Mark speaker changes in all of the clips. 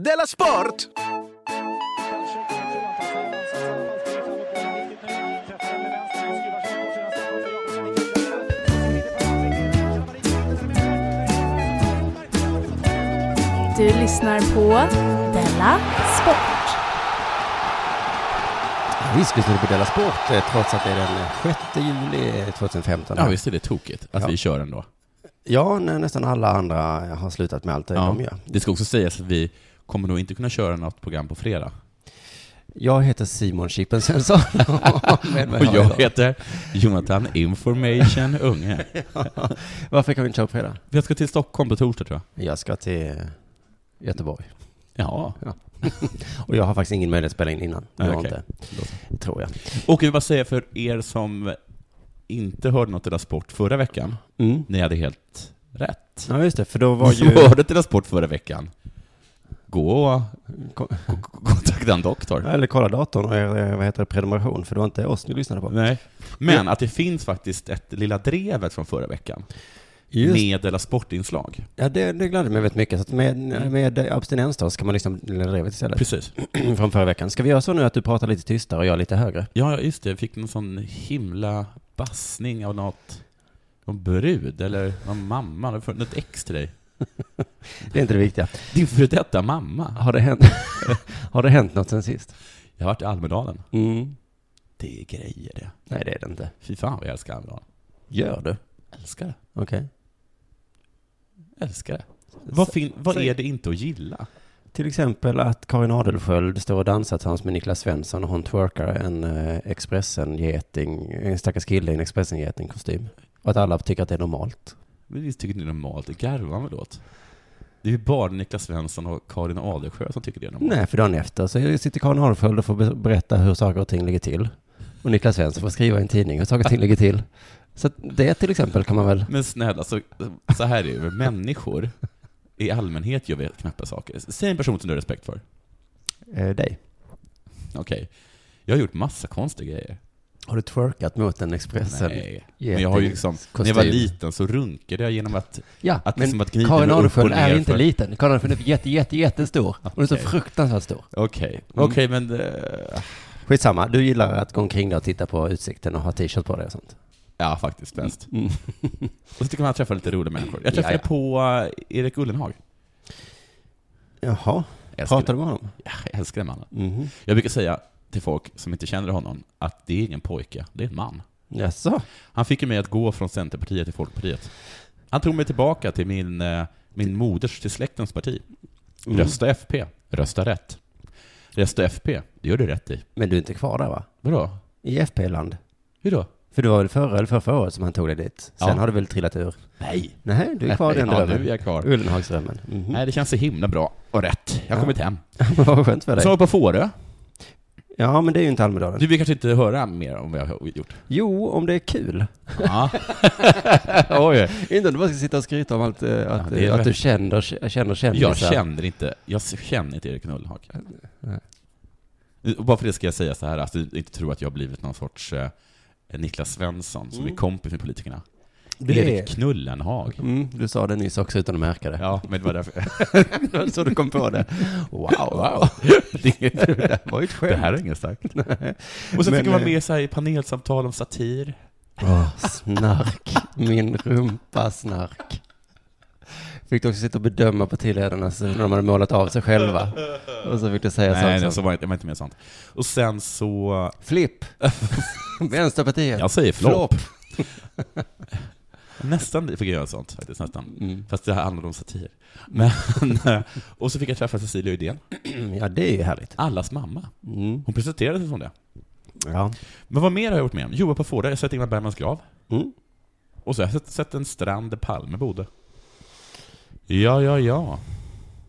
Speaker 1: Della Sport!
Speaker 2: Du lyssnar på Della Sport.
Speaker 3: Visst lyssnar du på Della Sport eh, trots att det är den 6 juli eh, 2015.
Speaker 4: Ja, visst är det tokigt att
Speaker 3: Ja.
Speaker 4: vi kör ändå.
Speaker 3: Ja, när nästan alla andra har slutat med allt det de gör.
Speaker 4: Det ska också sägas att vi kommer nog inte kunna köra något program på fredag.
Speaker 3: Jag heter Simon Chippen Svensson. Med mig
Speaker 4: Och
Speaker 3: har jag-
Speaker 4: jag heter Jonathan Information Unge.
Speaker 3: Varför kan vi inte köra på fredag?
Speaker 4: Jag ska till Stockholm på torsdag tror jag.
Speaker 3: Jag ska till eh, Göteborg.
Speaker 4: Ja,
Speaker 3: Och jag har faktiskt ingen möjlighet att spela in innan. Det
Speaker 4: Nej,
Speaker 3: har
Speaker 4: okej.
Speaker 3: inte, tror jag.
Speaker 4: Och jag vill bara säga för er som inte hörde något Della Sport förra veckan,
Speaker 3: Mm.
Speaker 4: ni hade helt rätt.
Speaker 3: Ja, just det. För då var
Speaker 4: Vad
Speaker 3: ju...
Speaker 4: hörde Della Sport förra veckan? Gå och
Speaker 3: Ko-
Speaker 4: k- k- kontakta en doktor.
Speaker 3: Eller kolla datorn och er, eh, vad heter det, prenumeration. För det var inte oss ni lyssnade på.
Speaker 4: Nej. Men att det finns faktiskt ett Lilla Drevet från förra veckan,
Speaker 3: Just,
Speaker 4: med Della Sport-inslag.
Speaker 3: ja, det, det gläder mig väldigt mycket. Så att med, med abstinensdag så kan man lyssna på Lilla Drevet istället.
Speaker 4: Precis.
Speaker 3: från förra veckan. Ska vi göra så nu att du pratar lite tystare och jag lite högre?
Speaker 4: Ja, ja, just det. Jag fick någon sån himla bassning av något, någon brud eller någon mamma. Det var Något ex till dig.
Speaker 3: Det är inte det viktiga.
Speaker 4: Din före detta mamma.
Speaker 3: Har det hänt, har det hänt något sen sist?
Speaker 4: Jag har varit i Almedalen.
Speaker 3: Mm.
Speaker 4: Det är grejer det.
Speaker 3: Nej, det är det inte.
Speaker 4: Fy fan vad jag älskar Almedalen.
Speaker 3: Gör du?
Speaker 4: Älskar det.
Speaker 3: Okej.
Speaker 4: Älskar det. Vad, fin- vad
Speaker 3: säg-
Speaker 4: är det inte att gilla?
Speaker 3: Till exempel att Karin Adelsköld står och dansar tillsammans med Niklas Svensson och hon twerkar en eh, Expressen-geting, en stackars kille i en Expressen-geting-kostym. Och att alla tycker att det är normalt.
Speaker 4: Men visst tycker ni det är normalt? Det garvar väl åt? Det är ju bara Niklas Svensson och Karin Adelsjö som tycker det är normalt.
Speaker 3: Nej, för dagen efter så sitter Karin Adelsköld och får be- berätta hur saker och ting ligger till. Och Niklas Svensson får skriva i en tidning hur saker och ting ligger till. Så att det till exempel kan man väl...
Speaker 4: Men snälla, så, så här är det ju. Människor i allmänhet gör väl knäppa saker. Säg en person som du har respekt för.
Speaker 3: Eh, dig.
Speaker 4: Okej. Jag har gjort massa konstiga grejer.
Speaker 3: Har du twerkat mot en Expressen?
Speaker 4: Nej. Men jag har ju liksom, när jag var liten så runkade jag genom att,
Speaker 3: Ja,
Speaker 4: att
Speaker 3: men
Speaker 4: liksom att gnida
Speaker 3: Karin
Speaker 4: mig upp och
Speaker 3: Adelsköld
Speaker 4: ner.
Speaker 3: är inte
Speaker 4: för-
Speaker 3: liten. Karin Adelsköld är jätte, jätte, jättestor. Hon är så
Speaker 4: Okej.
Speaker 3: fruktansvärt stor.
Speaker 4: Okej,
Speaker 3: Mm.
Speaker 4: okej men... eh,
Speaker 3: Skitsamma, du gillar att gå omkring där och titta på utsikten och ha t-shirt på dig och sånt.
Speaker 4: ja, faktiskt bäst. och så tycker man att träffa lite roliga människor. Jag träffade
Speaker 3: Mm. Ja, ja.
Speaker 4: på eh, Erik Ullenhag.
Speaker 3: Jaha,
Speaker 4: Jag Mm. älskar
Speaker 3: pratar
Speaker 4: det.
Speaker 3: du med honom?
Speaker 4: Ja, jag älskar den mannen.
Speaker 3: Mhm.
Speaker 4: Jag brukar säga till folk som inte känner honom att det är ingen pojke, det är en man.
Speaker 3: Jaså?
Speaker 4: Han fick ju mig att gå från Centerpartiet till Folkpartiet. Han tog mig tillbaka till min, eh, min moders, till släktens parti.
Speaker 3: Mm.
Speaker 4: Rösta FP, rösta rätt. Rösta FP, det gör du rätt i.
Speaker 3: Men du är inte kvar där va?
Speaker 4: Vadå?
Speaker 3: I FP-land?
Speaker 4: Hur då?
Speaker 3: För det var väl förra eller förra året som han tog dig dit? Sen
Speaker 4: Ja.
Speaker 3: har du väl trillat ur?
Speaker 4: Nej.
Speaker 3: Nej, du är kvar i den
Speaker 4: ja, nu är
Speaker 3: drömmen.
Speaker 4: jag kvar.
Speaker 3: Ullenhagsdrömmen. Mhm.
Speaker 4: Mm. Nej, det känns så himla bra och rätt. Jag har
Speaker 3: Ja.
Speaker 4: kommit hem.
Speaker 3: Vad skönt för
Speaker 4: Så var
Speaker 3: dig.
Speaker 4: jag på Fårö.
Speaker 3: Ja, men det är ju inte Almedalen.
Speaker 4: Du vill kanske inte höra mer om vad jag har gjort?
Speaker 3: Jo, om det är kul.
Speaker 4: Ja. Oj.
Speaker 3: Inte om du bara ska sitta och skryta om allt, eh, att,
Speaker 4: det är
Speaker 3: eh, att
Speaker 4: rätt.
Speaker 3: du känner, känner kändisar.
Speaker 4: Jag känner inte, jag känner inte Erik Nullhag.
Speaker 3: Nej.
Speaker 4: Bara för det ska jag säga så här, att du inte tror att jag har blivit någon sorts eh, Niklas Svensson som är kompis med politikerna.
Speaker 3: det.
Speaker 4: Erik Knullenhag.
Speaker 3: Mm, du sa det nyss också utan att märka det.
Speaker 4: Ja, men det var därför.
Speaker 3: Det var så du kom på det. Wow, wow.
Speaker 4: det,
Speaker 3: Det var ju ett
Speaker 4: det
Speaker 3: skämt.
Speaker 4: här är inget starkt. Och så
Speaker 3: Men,
Speaker 4: fick jag vara
Speaker 3: eh,
Speaker 4: med så här i panelsamtal om satir.
Speaker 3: Åh, snark. Min rumpa snark. Fick du också sitta och bedöma partiledarna så- när de hade målat av sig själva. Och så fick du säga
Speaker 4: Nej,
Speaker 3: saker
Speaker 4: nej, så
Speaker 3: som
Speaker 4: var jag, inte- jag var inte med sånt. Och sen så...
Speaker 3: flipp, Vänsterpartiet,
Speaker 4: Jag säger flopp.
Speaker 3: Flopp.
Speaker 4: Nästan fick jag göra sånt faktiskt, nästan.
Speaker 3: Mm.
Speaker 4: Fast det här handlade om satir. Men, och så fick jag träffa Cecilia Uddén,
Speaker 3: Mm, Ja, det är ju härligt.
Speaker 4: allas mamma.
Speaker 3: Mm.
Speaker 4: Hon presenterade sig som det.
Speaker 3: Ja.
Speaker 4: Men vad mer har jag gjort med om? Joa på Fårö, jag har sett Ingmar Bergmans grav.
Speaker 3: Mm.
Speaker 4: Och så har jag sett, sett en strand där Palme bodde. Ja, ja, ja.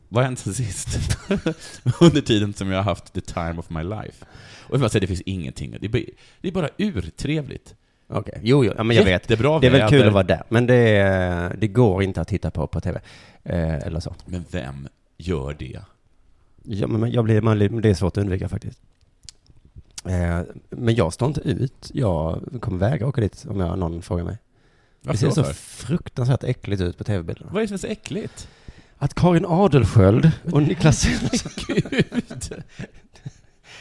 Speaker 4: Vad har hänt sen sist? Under tiden som jag har haft the time of my life. Och jag vill bara säga, det finns ingenting. Det är bara, det är bara urtrevligt.
Speaker 3: Okej, jo, jo, ja, men jag vet.
Speaker 4: Jättebra
Speaker 3: Det är väl
Speaker 4: väder.
Speaker 3: kul att vara där, men det, är- det går inte att titta på på tv. Eh, eller så.
Speaker 4: Men vem gör det?
Speaker 3: Ja, men jag blir, man, blir- det är svårt att undvika faktiskt. Eh, men jag står inte ut. Jag kommer vägra åka dit om jag, någon frågar mig. Det
Speaker 4: Varför
Speaker 3: ser
Speaker 4: då
Speaker 3: så
Speaker 4: för?
Speaker 3: fruktansvärt äckligt ut på tv-bilderna.
Speaker 4: Vad är det som är så äckligt?
Speaker 3: Att Karin Adelsköld och Niklas Svensson...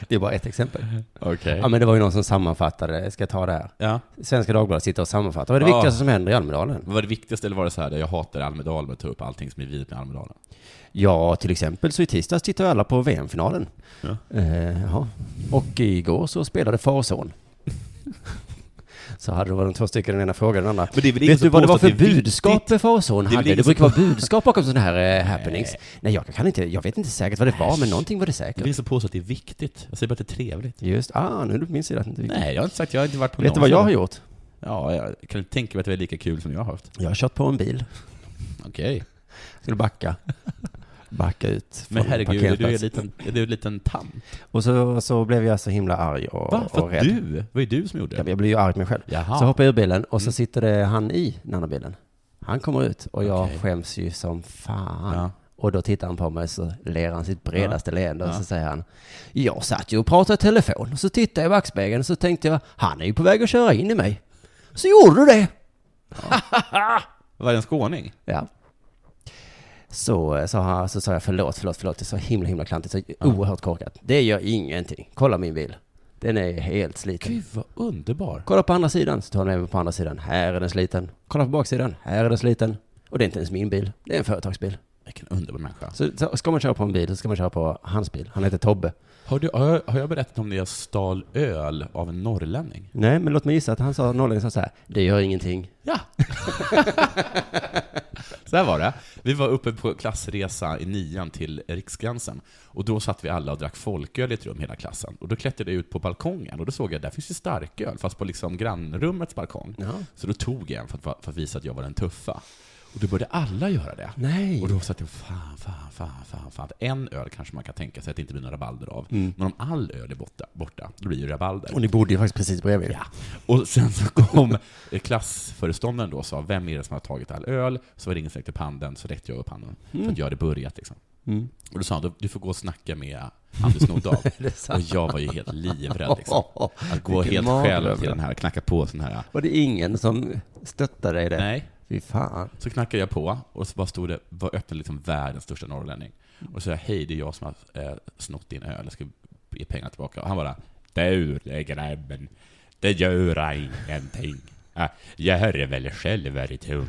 Speaker 3: Det är bara ett exempel.
Speaker 4: Okej.
Speaker 3: Ja, men det var ju någon som sammanfattade. Jag ska ta det här.
Speaker 4: Ja.
Speaker 3: Svenska Dagbladet sitter och sammanfattar. Vad är det
Speaker 4: Ja.
Speaker 3: viktigaste som händer i Almedalen?
Speaker 4: Var det viktigaste eller var det så här, jag hatar Almedalen men tar upp allting som är vidrigt med Almedalen?
Speaker 3: Ja, till exempel så i tisdags tittade alla på VM-finalen.
Speaker 4: Ja.
Speaker 3: Eh, ja. Och igår så spelade far och son. Så hade det varit de två stycken, den ena frågade den andra.
Speaker 4: Men det är väl ingen
Speaker 3: Vet
Speaker 4: som
Speaker 3: du vad det var
Speaker 4: påstår
Speaker 3: för
Speaker 4: att det är
Speaker 3: budskap far och son
Speaker 4: Det är väl
Speaker 3: hade?
Speaker 4: ingen
Speaker 3: Det
Speaker 4: som
Speaker 3: brukar vara budskap bakom sådana här eh, happenings. Nej, jag kan inte, jag vet inte säkert vad det var, men någonting var det
Speaker 4: Det
Speaker 3: säkert.
Speaker 4: finns som påstår att det är viktigt. Jag säger bara att det är trevligt.
Speaker 3: Just, ah, nu är du på min sida.
Speaker 4: Nej, jag har inte sagt, jag har inte varit på
Speaker 3: Vet du
Speaker 4: någon
Speaker 3: vad jag
Speaker 4: sån.
Speaker 3: har gjort?
Speaker 4: Ja, jag kan inte tänka mig att det är lika kul som jag har haft.
Speaker 3: Jag har kört på en bil.
Speaker 4: Okej.
Speaker 3: Skulle backa. Backa ut från
Speaker 4: Men herregud, är du är en
Speaker 3: parkeringsplatsen.
Speaker 4: liten, är du en liten tant.
Speaker 3: Och så, så blev jag så himla arg och,
Speaker 4: Va?
Speaker 3: och
Speaker 4: För
Speaker 3: rädd.
Speaker 4: att du? Det var ju du som gjorde
Speaker 3: Ja, men
Speaker 4: det.
Speaker 3: Jag blev ju arg på mig själv.
Speaker 4: Jaha.
Speaker 3: Så hoppar jag ur bilen och
Speaker 4: Mm.
Speaker 3: så sitter det han i den andra bilen. Han kommer ut och jag
Speaker 4: Okej.
Speaker 3: skäms ju som fan.
Speaker 4: Ja.
Speaker 3: Och då tittar han på mig så ler han sitt bredaste leende och
Speaker 4: Ja.
Speaker 3: så säger han Jag satt ju och pratade i telefon och så tittade jag i backspegeln och så tänkte jag han är ju på väg att köra in i mig. Så gjorde du det.
Speaker 4: Var det en skåning?
Speaker 3: Ja. Så, eh, sa han, så sa jag förlåt, förlåt, förlåt. Det är så himla, himla klantigt. Så oerhört korkat. Det gör ingenting. Kolla min bil. Den är helt sliten.
Speaker 4: Gud vad underbar.
Speaker 3: Kolla på andra sidan, så tar han med mig på andra sidan. Här är den sliten. Kolla på baksidan, här är den sliten. Och det är inte ens min bil, det är en företagsbil.
Speaker 4: Vilken underbar människa.
Speaker 3: Så, så ska man köra på en bil så ska man köra på hans bil. Han heter Tobbe.
Speaker 4: Har, du, har, jag, har jag berättat om när jag stal öl av en norrlänning?
Speaker 3: Nej, men låt mig gissa att han sa, norrlänningen sa så här, det gör ingenting.
Speaker 4: Ja. så här var det. Vi var uppe på klassresa i nian till Riksgränsen. Och då satt vi alla och drack folköl i ett rum, hela klassen. Och då klättrade jag ut på balkongen och då såg jag att där finns ju starköl, fast på liksom grannrummets balkong.
Speaker 3: Ja.
Speaker 4: Så då tog jag en för att, va- för att visa att jag var den tuffa. Och då började alla göra det.
Speaker 3: Nej.
Speaker 4: Och då satt jag fan, fan, fan, fan, fan. En öl kanske man kan tänka sig att det inte blir några rabalder av.
Speaker 3: Mm.
Speaker 4: Men om all öl är borta, borta då blir det ju rabalder.
Speaker 3: Och ni bodde ju faktiskt precis bredvid.
Speaker 4: Ja. Och sen så kom eh, klassföreståndaren då och sa, vem är det som har tagit all öl? Så var det ingen som räckte upp handen, så räckte jag upp handen.
Speaker 3: Mm.
Speaker 4: För att jag hade börjat liksom. Och då sa han, "Du- du får gå och snacka med Anders Nordahl. och jag var ju helt livrädd liksom. Att gå
Speaker 3: Vilken
Speaker 4: helt
Speaker 3: mardröm.
Speaker 4: själv till den här, knacka på sån här.
Speaker 3: Var det ingen som stöttade dig i det?
Speaker 4: Nej.
Speaker 3: Fy fan.
Speaker 4: Så knackade jag på och så bara stod det, var öppnade liksom världens största norrlänning. Och så sa jag, hej det är jag som har eh, snott din öl, jag ska ge pengar tillbaka. Och han bara, du det är grabben, det gör ingenting. Äh, Jag hör det väl själv här i tungan.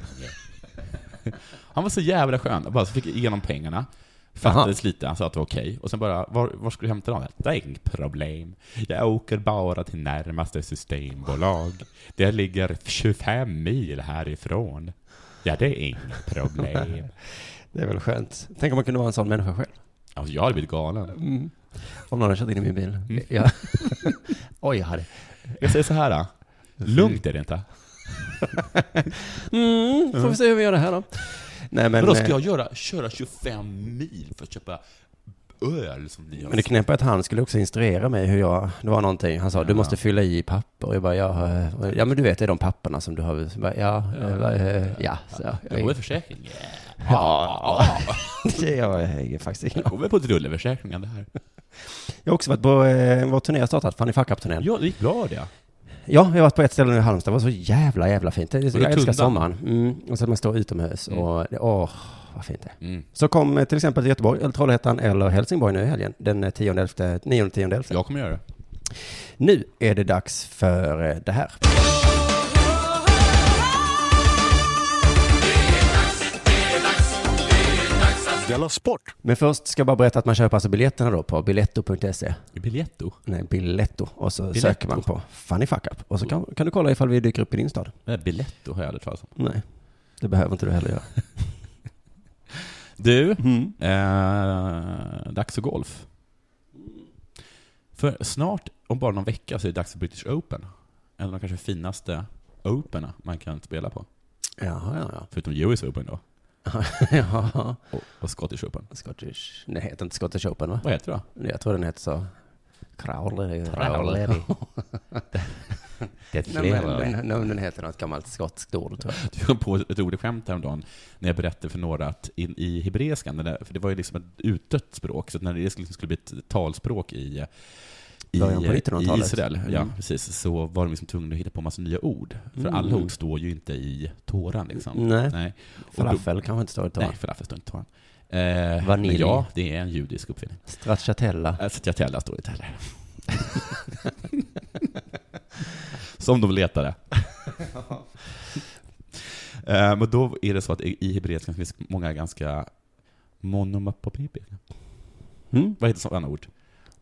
Speaker 4: Han var så jävla skön, Jag bara så fick jag igenom pengarna. Fattades lite, han sa att det var okej. Och sen bara, var, var ska du hämta dem? Det är inget problem. Jag åker bara till närmaste systembolag. Det ligger 25 mil härifrån. Ja, det är inget problem.
Speaker 3: Det är väl skönt. Tänk om man kunde vara en sån människa själv.
Speaker 4: Alltså, jag hade blivit galen.
Speaker 3: Mm. Om någon hade kört in i min bil. Ja. Oj, jag hade...
Speaker 4: Jag säger så här. Då. Lugnt är det inte.
Speaker 3: Mm, får vi se hur vi gör det här då. Nej, men...
Speaker 4: Men då ska
Speaker 3: eh,
Speaker 4: jag göra, köra 25 mil för att köpa öl som ni har.
Speaker 3: Men det knäppa är att han skulle också instruera mig hur jag, det var någonting, han sa du måste fylla i papper. Och jag bara, ja, eh, ja men du vet det är de papperna som du har, Så jag bara, ja, ja, ja. Så,
Speaker 4: Det går
Speaker 3: jag,
Speaker 4: väl försäkring? Ja.
Speaker 3: ja, ja. jag är faktiskt ingen
Speaker 4: Det går väl på drulleförsäkringen det här?
Speaker 3: Jag har också varit på, eh, vår turné har startat, Fanny fuck up turnén.
Speaker 4: Ja, det gick bra det.
Speaker 3: Ja, jag har varit på ett ställe nu i Halmstad, det var så jävla, jävla fint. Det, Mm. jag
Speaker 4: Var det
Speaker 3: älskar
Speaker 4: Tundan?
Speaker 3: sommaren. Mm. Och så att man står utomhus och, det- åh, vad fint det är.
Speaker 4: Mm.
Speaker 3: Så kom eh, till exempel till Göteborg, eller Trollhättan eller Helsingborg nu i helgen, den eh, 10, 11, 9, 10, 11.
Speaker 4: Jag kommer göra det.
Speaker 3: Nu är det dags för eh, det här.
Speaker 1: Della Sport!
Speaker 3: Men först ska jag bara berätta att man köper alltså biljetterna då på biletto.se.
Speaker 4: I Biletto?
Speaker 3: Nej, biletto. Och så söker man på Funny Fuck Up. Och så kan, kan du kolla ifall vi dyker upp i din stad.
Speaker 4: Nej, Biletto har jag aldrig talat om.
Speaker 3: Nej, det behöver inte du heller göra.
Speaker 4: Du,
Speaker 3: Mm.
Speaker 4: eh, dags för golf. För snart, om bara någon vecka, så är det dags för British Open. En av de kanske finaste operna man kan spela på.
Speaker 3: Jaha, ja,
Speaker 4: Förutom US Open då.
Speaker 3: ja. Jaha.
Speaker 4: Och, och Scottish Open.
Speaker 3: Scottish... Nej, heter inte Scottish Open va?
Speaker 4: Vad heter det då?
Speaker 3: Jag tror den heter så. Crowlery.
Speaker 4: Crowlery. Det
Speaker 3: Nej, men, nej, nej, men den heter något gammalt skotskt ord tror jag.
Speaker 4: Du kom på ett roligt skämt häromdagen när jag berättade för några att in, i hebreiskan, den där- för det var ju liksom ett utdött språk, så när det liksom skulle bli ett talspråk i, i,
Speaker 3: Början på
Speaker 4: i
Speaker 3: 1900-talet.
Speaker 4: Israel, ja
Speaker 3: Mm.
Speaker 4: precis, så var de liksom tvungna att hitta på en massa nya ord. För
Speaker 3: Mm.
Speaker 4: alla ord står ju inte i Toran liksom.
Speaker 3: Nej,
Speaker 4: Nej. Och då-
Speaker 3: falafel kanske inte står i
Speaker 4: Nej,
Speaker 3: talan.
Speaker 4: falafel står inte i Toran. Eh,
Speaker 3: Vanilj.
Speaker 4: Men ja, det är en judisk uppfinning.
Speaker 3: Stracciatella.
Speaker 4: Eh, Stracciatella står inte heller. Som de letade. eh, men då är det så att i, i hebreiskan finns många ganska monomapomekika.
Speaker 3: Mm?
Speaker 4: Vad heter sådana ord?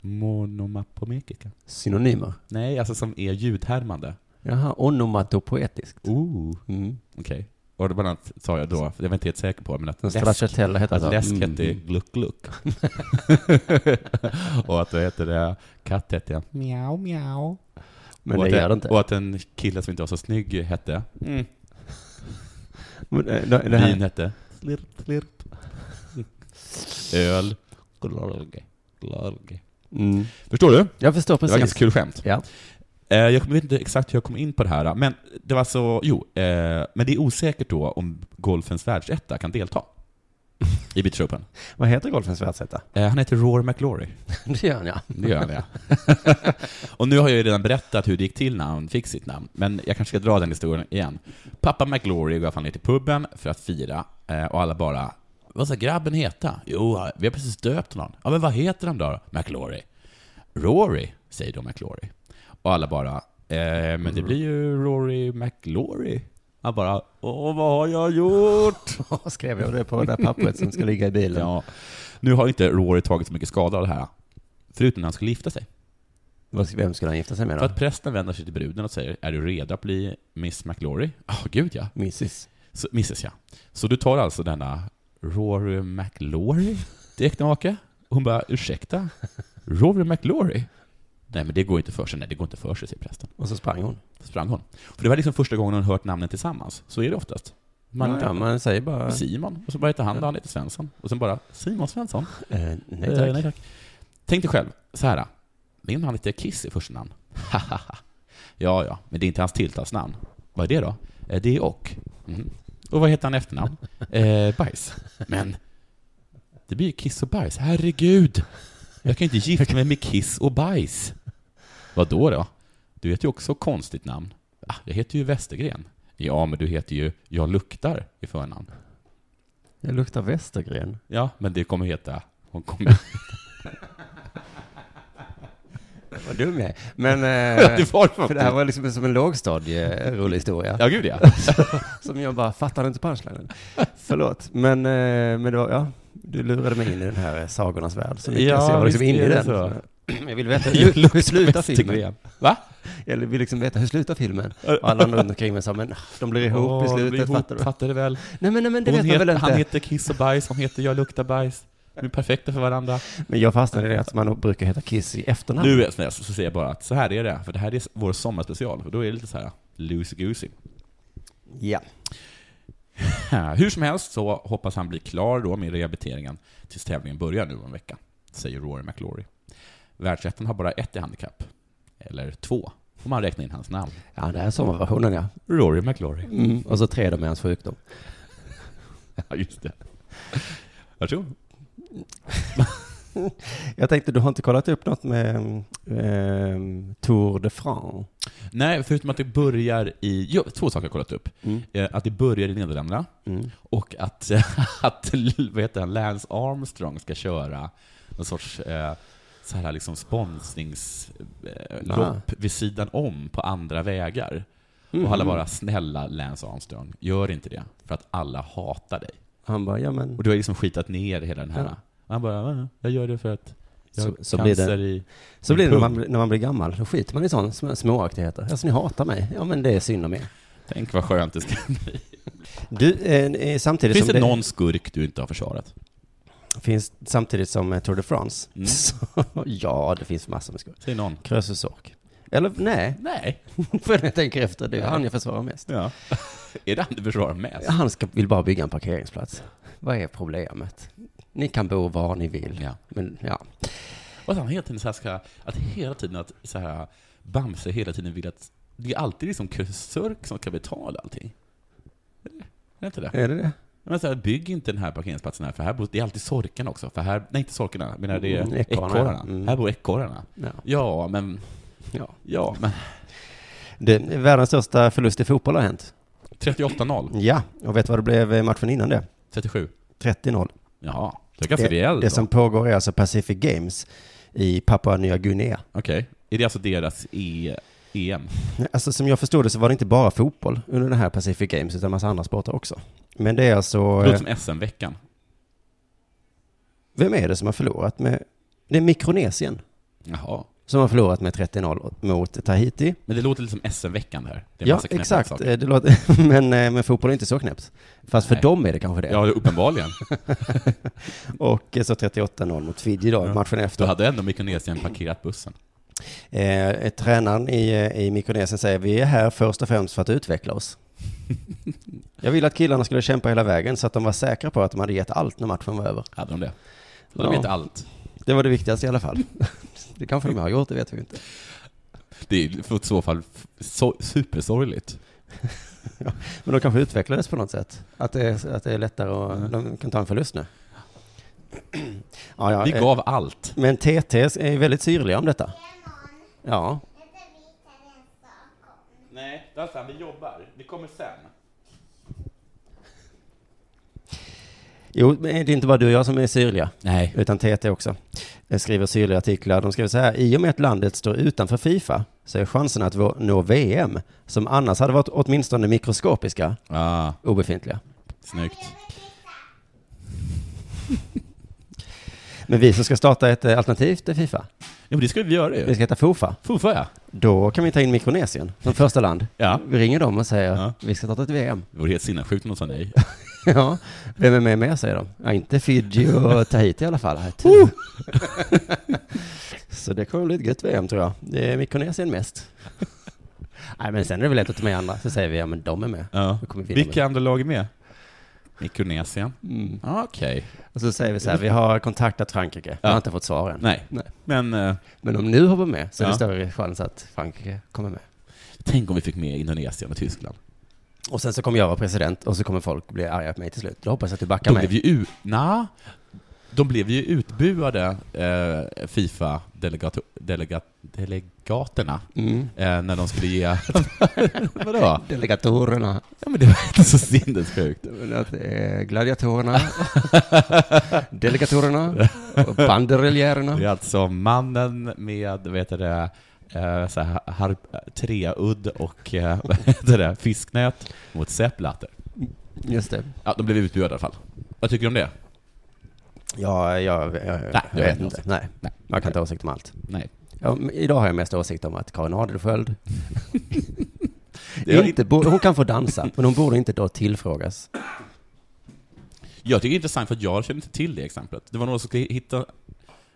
Speaker 4: Monomapomekika.
Speaker 3: Synonymer.
Speaker 4: Nej, alltså som är ljudhärmande.
Speaker 3: Jaha, onomatopoetiskt.
Speaker 4: Ooh.
Speaker 3: Mm.
Speaker 4: Okej. Och det bland annat sa jag då, för jag var inte helt säker på, men att
Speaker 3: Men
Speaker 4: läsk,
Speaker 3: Stracciatella heter
Speaker 4: att
Speaker 3: alltså-
Speaker 4: läsk
Speaker 3: Mm.
Speaker 4: hette gluck gluck. och att det heter det, katt hette miau miau.
Speaker 3: Men
Speaker 4: och
Speaker 3: det
Speaker 4: att
Speaker 3: gör det inte.
Speaker 4: Och att en kille som inte var så snygg hette, mm,
Speaker 3: Men, eh, det- det här-
Speaker 4: vin hette, slirp slirp. Öl, glorge, glorge.
Speaker 3: Mm.
Speaker 4: Förstår du?
Speaker 3: Jag förstår
Speaker 4: Det var
Speaker 3: precis.
Speaker 4: ganska kul skämt.
Speaker 3: Ja.
Speaker 4: Eh, Jag vet inte exakt hur jag kom in på det här, men det var så, jo, eh, men det är osäkert då om golfens världsetta kan delta i Beach Open.
Speaker 3: Vad heter golfens världsetta?
Speaker 4: Eh, Han heter Roar McLaury.
Speaker 3: Det gör han ja.
Speaker 4: Det gör han, ja. Och nu har jag ju redan berättat hur det gick till när han fick sitt namn, men jag kanske ska dra den historien igen. Pappa McLaury går i alla fall ner till puben för att fira, eh, och alla bara ”Vad ska grabben heta?” ”Jo, vi har precis döpt honom.” ”Ja, men vad heter han då?” ”McLaury.” ”Rory”, säger då McLaury. Och alla bara eh, ”Men det blir ju Rory McLaury.” Han bara ”Åh, vad har jag gjort?”
Speaker 3: Vad skrev jag det på det där pappret som ska ligga i bilen?
Speaker 4: ja. Nu har inte Rory tagit så mycket skada av det här, förutom när han skulle gifta sig.
Speaker 3: Vad- Vem skulle han gifta sig med
Speaker 4: För
Speaker 3: då?
Speaker 4: att prästen vänder sig till bruden och säger Är du redo att bli Miss McLaury? Ja, gud ja.
Speaker 3: Mrs.
Speaker 4: Så, misses ja. Så du tar alltså denna Rory McLaury till äktenmake? Och Hon bara, ursäkta? Rory McLaury? Nej, men det går inte för sig. Nej, det går inte för sig, säger prästen.
Speaker 3: Och så sprang hon.
Speaker 4: Så sprang hon. För det var liksom första gången hon hört namnen tillsammans. Så är det oftast. Man,
Speaker 3: Man, ja, man säger bara...
Speaker 4: Simon, och så bara heter han då, han heter Svensson. Och sen bara, Simon Svensson?
Speaker 3: Eh, nej
Speaker 4: Eh,
Speaker 3: tack.
Speaker 4: Tänk dig själv, så här. Min han heter Kiss i första namn. Hahaha. ja, ja, men det är inte hans tilltalsnamn. Vad är det då? Eh, Det är Ock. Mhm. Och vad heter han i efternamn? Eh, bajs. Men, det blir ju Kiss och Bajs. Herregud! Jag kan ju inte gifta mig med Kiss och Bajs. Vad då då? Du heter ju också konstigt namn. Ah, jag heter ju Westergren. Ja, men du heter ju Jag luktar i förnamn.
Speaker 3: Jag luktar Västergren.
Speaker 4: Ja, men det kommer heta... Hon kommer...
Speaker 3: Vad dum jag är. Men...
Speaker 4: Ja,
Speaker 3: Eh,
Speaker 4: det var det
Speaker 3: för det här var liksom som en eh, lågstadierolig historia.
Speaker 4: Ja, gud ja.
Speaker 3: Som jag bara fattade inte punchlinen. Förlåt. Men, eh, men det var, ja. Du lurade mig in i den här eh, sagornas värld så mycket.
Speaker 4: Ja,
Speaker 3: så jag var liksom
Speaker 4: visst
Speaker 3: inne i
Speaker 4: är det
Speaker 3: den.
Speaker 4: så.
Speaker 3: Jag vill veta hur, hur slutar filmen?
Speaker 4: Westergren. Va?
Speaker 3: Eller vill liksom veta hur slutar filmen? Och alla runt omkring mig sa, men ah, de blir ihop i
Speaker 4: Åh,
Speaker 3: slutet,
Speaker 4: blir ihop,
Speaker 3: fattar du?
Speaker 4: Fattar du väl?
Speaker 3: Nej men, nej, men det
Speaker 4: Hon
Speaker 3: vet man
Speaker 4: heter,
Speaker 3: väl inte?
Speaker 4: han heter Kiss och Bajs, hon heter Jag luktar bajs. De är perfekta för varandra.
Speaker 3: Men jag fastnade i det att man brukar heta Kiss i efternamn.
Speaker 4: Nu är jag snäll, så säger jag bara att så här är det, för det här är vår sommarspecial. Och då är det lite så här loosey goosey.
Speaker 3: Ja.
Speaker 4: Hur som helst så hoppas han bli klar då med rehabiliteringen tills tävlingen börjar nu om en vecka, säger Rory McLaury. Världsettan har bara ett i handikapp. Eller två, om man räknar in hans namn.
Speaker 3: Ja, det här är sommarversionen ja.
Speaker 4: Rory McLaury.
Speaker 3: Mm. Och så tre då med hans sjukdom.
Speaker 4: Ja, just det. Varsågod.
Speaker 3: Jag tänkte, du har inte kollat upp något med ehm, Tour de France?
Speaker 4: Nej, förutom att det börjar i... Jo, två saker har jag kollat upp.
Speaker 3: Mm.
Speaker 4: Eh, Att det börjar i Nederländerna
Speaker 3: Mm.
Speaker 4: och att, att vad heter han, Lance Armstrong ska köra någon sorts eh, så här liksom
Speaker 3: Ah.
Speaker 4: sponsringslopp vid sidan om på andra vägar.
Speaker 3: Mhm.
Speaker 4: Och alla bara ”Snälla Lance Armstrong, gör inte det, för att alla hatar dig”.
Speaker 3: Han bara, ja men...
Speaker 4: Och du har liksom skitat ner hela den här.
Speaker 3: Ja.
Speaker 4: Och han bara "Ja, ”Jag gör det för att jag
Speaker 3: Så-
Speaker 4: har
Speaker 3: så blir det-
Speaker 4: cancer i...”
Speaker 3: Så
Speaker 4: Min
Speaker 3: blir det när man,
Speaker 4: pung.
Speaker 3: blir- när man blir gammal, då skiter man i sådana sm- småaktigheter. Alltså ni hatar mig, ja men det är synd om er.
Speaker 4: Tänk vad skönt det ska
Speaker 3: Du, eh, eh, samtidigt
Speaker 4: Finns
Speaker 3: som
Speaker 4: det någon skurk du inte har försvarat?
Speaker 3: finns samtidigt som eh, Tour de France,
Speaker 4: Mm.
Speaker 3: så, ja det finns massor med skuld.
Speaker 4: Säg någon.
Speaker 3: Krösus Sork. Eller nej,
Speaker 4: Nej.
Speaker 3: för jag tänker efter, det är han jag försvarar mest.
Speaker 4: Ja. är det han du försvarar mest?
Speaker 3: Han ska, vill bara bygga en parkeringsplats. Vad är problemet? Ni kan bo var ni vill.
Speaker 4: Ja.
Speaker 3: Men ja,
Speaker 4: Och att han hela tiden så här ska, att hela tiden att så här, Bamse hela tiden vill att, det är alltid liksom Sörk som ska betala allting. Är det inte det?
Speaker 3: är det det?
Speaker 4: Men så här, bygg inte den här parkeringsplatsen här, för här bor, det är alltid sorkarna också. För här, nej inte sorkarna, jag menar det
Speaker 3: Mm,
Speaker 4: är
Speaker 3: ekorrarna.
Speaker 4: ekorrarna.
Speaker 3: Mm.
Speaker 4: Här bor ekorrarna.
Speaker 3: Ja.
Speaker 4: Ja, men,
Speaker 3: ja.
Speaker 4: ja, men
Speaker 3: Det, världens största förlust i fotboll har hänt.
Speaker 4: 38-0,
Speaker 3: Ja, och vet du vad det blev eh, matchen innan det?
Speaker 4: 37.
Speaker 3: 30-0.
Speaker 4: Jaha, det är ganska
Speaker 3: det,
Speaker 4: rejält.
Speaker 3: det
Speaker 4: då.
Speaker 3: som pågår är alltså Pacific Games i Papua Nya Guinea.
Speaker 4: Okej. Är det alltså deras e EM?
Speaker 3: Alltså som jag förstod det så var det inte bara fotboll under den här Pacific Games utan massa andra sporter också. Men det är alltså...
Speaker 4: Det
Speaker 3: eh,
Speaker 4: låter som SM-veckan.
Speaker 3: Vem är det som har förlorat med... Det är Mikronesien
Speaker 4: Jaha.
Speaker 3: som har förlorat med 30-0 mot Tahiti.
Speaker 4: Men det låter lite som SM-veckan det här. Det är en
Speaker 3: Ja,
Speaker 4: massa knäppa
Speaker 3: exakt.
Speaker 4: saker.
Speaker 3: Eh, Det låter, men, eh, men fotboll är inte så knäppt. Fast för
Speaker 4: Nej.
Speaker 3: dem är det kanske det.
Speaker 4: Ja, uppenbarligen.
Speaker 3: Och eh, så 38-0 mot Fiji då, matchen
Speaker 4: Då
Speaker 3: efter.
Speaker 4: hade ändå Mikronesien parkerat bussen.
Speaker 3: Eh, eh, tränaren i, eh, i Mikronesien säger vi är här först och främst för att utveckla oss. Jag ville att killarna skulle kämpa hela vägen så att de var säkra på att de hade gett allt när matchen var över.
Speaker 4: Hade de det? Då
Speaker 3: Ja.
Speaker 4: hade de vet allt.
Speaker 3: Det var det viktigaste i alla fall. Det kanske de har gjort, det vet vi inte.
Speaker 4: Det är för i så fall f- so supersorgligt.
Speaker 3: Men de kanske utvecklades på något sätt. Att det är, att det är lättare och de kan ta en förlust nu. Ja, ja,
Speaker 4: Vi
Speaker 3: eh,
Speaker 4: gav allt.
Speaker 3: Men TT är ju väldigt syrliga om detta. Ja,
Speaker 4: Nej, Dalsan, vi jobbar. Vi kommer sen.
Speaker 3: jo, men det är inte bara du och jag som är syrliga.
Speaker 4: Nej.
Speaker 3: utan TT också, eh, skriver syrliga artiklar. De skriver så här, i och med att landet står utanför Fifa så är chansen att vå- nå VM, som annars hade varit åtminstone mikroskopiska,
Speaker 4: Ah,
Speaker 3: obefintliga.
Speaker 4: snyggt.
Speaker 3: Men vi som ska starta ett eh, alternativ till Fifa,
Speaker 4: Ja, men det ska vi göra
Speaker 3: vi
Speaker 4: ju.
Speaker 3: ska heta Fofa,
Speaker 4: Fufa, ja.
Speaker 3: då kan vi ta in Mikronesien som första land.
Speaker 4: Ja.
Speaker 3: Vi ringer dem och säger,
Speaker 4: Ja.
Speaker 3: vi ska starta ett VM.
Speaker 4: Det vore helt sinnessjukt om de sa nej.
Speaker 3: ja, vem är med mer säger de. Ja, inte Fiji och Tahiti i alla fall. Nej, tur.
Speaker 4: Oh!
Speaker 3: så det kommer bli ett gött VM tror jag. Det är Mikronesien mest. Nej, men sen är det väl lätt att ta med andra. Så säger vi, ja men de är med.
Speaker 4: Ja.
Speaker 3: Då kommer vi vinna med
Speaker 4: Vilka andra lag är med? Mikronesien.
Speaker 3: Mm.
Speaker 4: Ah, Okej.
Speaker 3: Och så säger vi så här, vi har kontaktat Frankrike. Vi har
Speaker 4: Ja.
Speaker 3: inte fått svar än.
Speaker 4: Nej.
Speaker 3: Nej.
Speaker 4: Men eh,
Speaker 3: Men om nu hoppar med så är det
Speaker 4: Ja.
Speaker 3: större chans att Frankrike kommer med.
Speaker 4: tänk om vi fick med Indonesien och Tyskland.
Speaker 3: Och sen så kommer jag vara president och så kommer folk bli arga på mig till slut. Då hoppas jag att du backar
Speaker 4: De
Speaker 3: mig.
Speaker 4: blev ju, u- na, de blev ju utbuade, eh, Fifa-delegaterna,
Speaker 3: Mm.
Speaker 4: eh, när de skulle ge... Vadå?
Speaker 3: Delegatorerna.
Speaker 4: Ja, men det var inte så sinnessjukt.
Speaker 3: eh, Gladiatorerna. Delegatorerna. Banderoljärerna.
Speaker 4: Det är alltså mannen med, vad heter det, eh, så här, har, treudd och eh, vad heter det, fisknät mot Sepp Blatter.
Speaker 3: Just det.
Speaker 4: Ja, de blev utbuade i alla fall. Vad tycker du om det?
Speaker 3: Ja, jag, jag, jag
Speaker 4: jag har
Speaker 3: vet
Speaker 4: ingen
Speaker 3: inte.
Speaker 4: åsikt.
Speaker 3: Nej.
Speaker 4: Nej.
Speaker 3: Man kan inte ha åsikt om allt.
Speaker 4: Nej.
Speaker 3: Ja, men idag har jag mest åsikt om att Karin Adelsköld
Speaker 4: Det var-
Speaker 3: inte borde, hon kan få dansa, men hon borde inte då tillfrågas.
Speaker 4: Jag tycker det är intressant för att jag känner inte till det exemplet. Det var någon som skulle hitta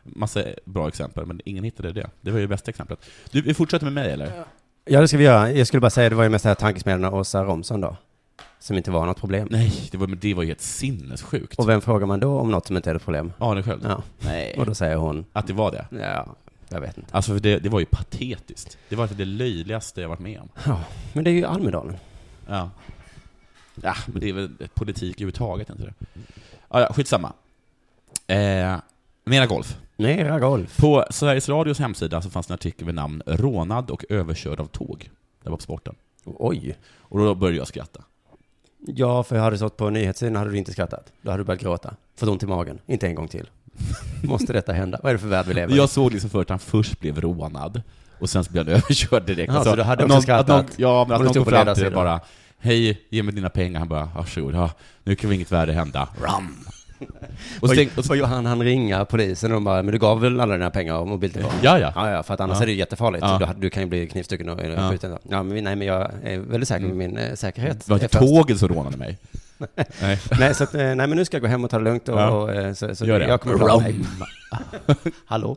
Speaker 4: massa bra exempel, men ingen hittade det. Det var ju det bästa exemplet. Du, vi fortsätter med mig eller?
Speaker 3: Ja, det ska vi göra. Jag skulle bara säga, det var ju mest den här tankesmedjan av Åsa Romson då, som inte var något problem.
Speaker 4: Nej, det var, men det var ju helt sinnessjukt.
Speaker 3: Och vem frågar man då om något som inte är ett problem?
Speaker 4: Arnesköld?
Speaker 3: Ja.
Speaker 4: Nej.
Speaker 3: Och då säger hon,
Speaker 4: Att det var det?
Speaker 3: ja, jag vet inte.
Speaker 4: Alltså, för det, det var ju patetiskt. Det var det löjligaste jag varit med om.
Speaker 3: Ja, men det är ju Almedalen.
Speaker 4: Ja. Ja, men det är väl politik överhuvudtaget, inte det? Ja, ja, skitsamma. Eh, mera golf.
Speaker 3: Mera golf.
Speaker 4: På Sveriges Radios hemsida så fanns en artikel med namn ”Rånad och överkörd av tåg”. Det var på sporten.
Speaker 3: Oj.
Speaker 4: Och då började jag skratta.
Speaker 3: Ja, för hade du stått på nyhetssidan hade du inte skrattat. Då hade du börjat gråta. Fått ont i magen. Inte en gång till. Måste detta hända? Vad är det för värld vi lever i?
Speaker 4: Jag såg liksom förut att han först blev rånad, och sen så blev han överkörd direkt.
Speaker 3: Ja,
Speaker 4: Alltså,
Speaker 3: så du hade
Speaker 4: att
Speaker 3: också
Speaker 4: någon,
Speaker 3: skrattat?
Speaker 4: Att någon, ja,
Speaker 3: Om
Speaker 4: men att
Speaker 3: du
Speaker 4: någon
Speaker 3: stod
Speaker 4: kom
Speaker 3: på
Speaker 4: fram till det
Speaker 3: ledarsidan.
Speaker 4: bara ”Hej, ge mig dina pengar”. Han bara ”Varsågod, ja, nu kan väl inget värre hända”. Ram! Och så
Speaker 3: Och,
Speaker 4: tänk, och så,
Speaker 3: och han han ringa polisen och de bara, men du gav väl alla dina pengar och mobiltelefonen?
Speaker 4: Ja, ja.
Speaker 3: Ja, ja, för att annars
Speaker 4: Ja.
Speaker 3: är det ju jättefarligt.
Speaker 4: Ja.
Speaker 3: Du, har- du kan ju bli knivstucken och
Speaker 4: Ja.
Speaker 3: ja. skjuten. Ja, men, vi- nej, men jag är väldigt säker med min eh, säkerhet.
Speaker 4: det var inte
Speaker 3: Jag är först.
Speaker 4: tåget som rånade mig. Nej.
Speaker 3: Nej, så att, eh, nej, men nu ska jag gå hem och ta det lugnt och,
Speaker 4: Ja.
Speaker 3: och eh, så, så
Speaker 4: Gör det.
Speaker 3: jag kommer klara mig.
Speaker 4: Rom.
Speaker 3: Hallå?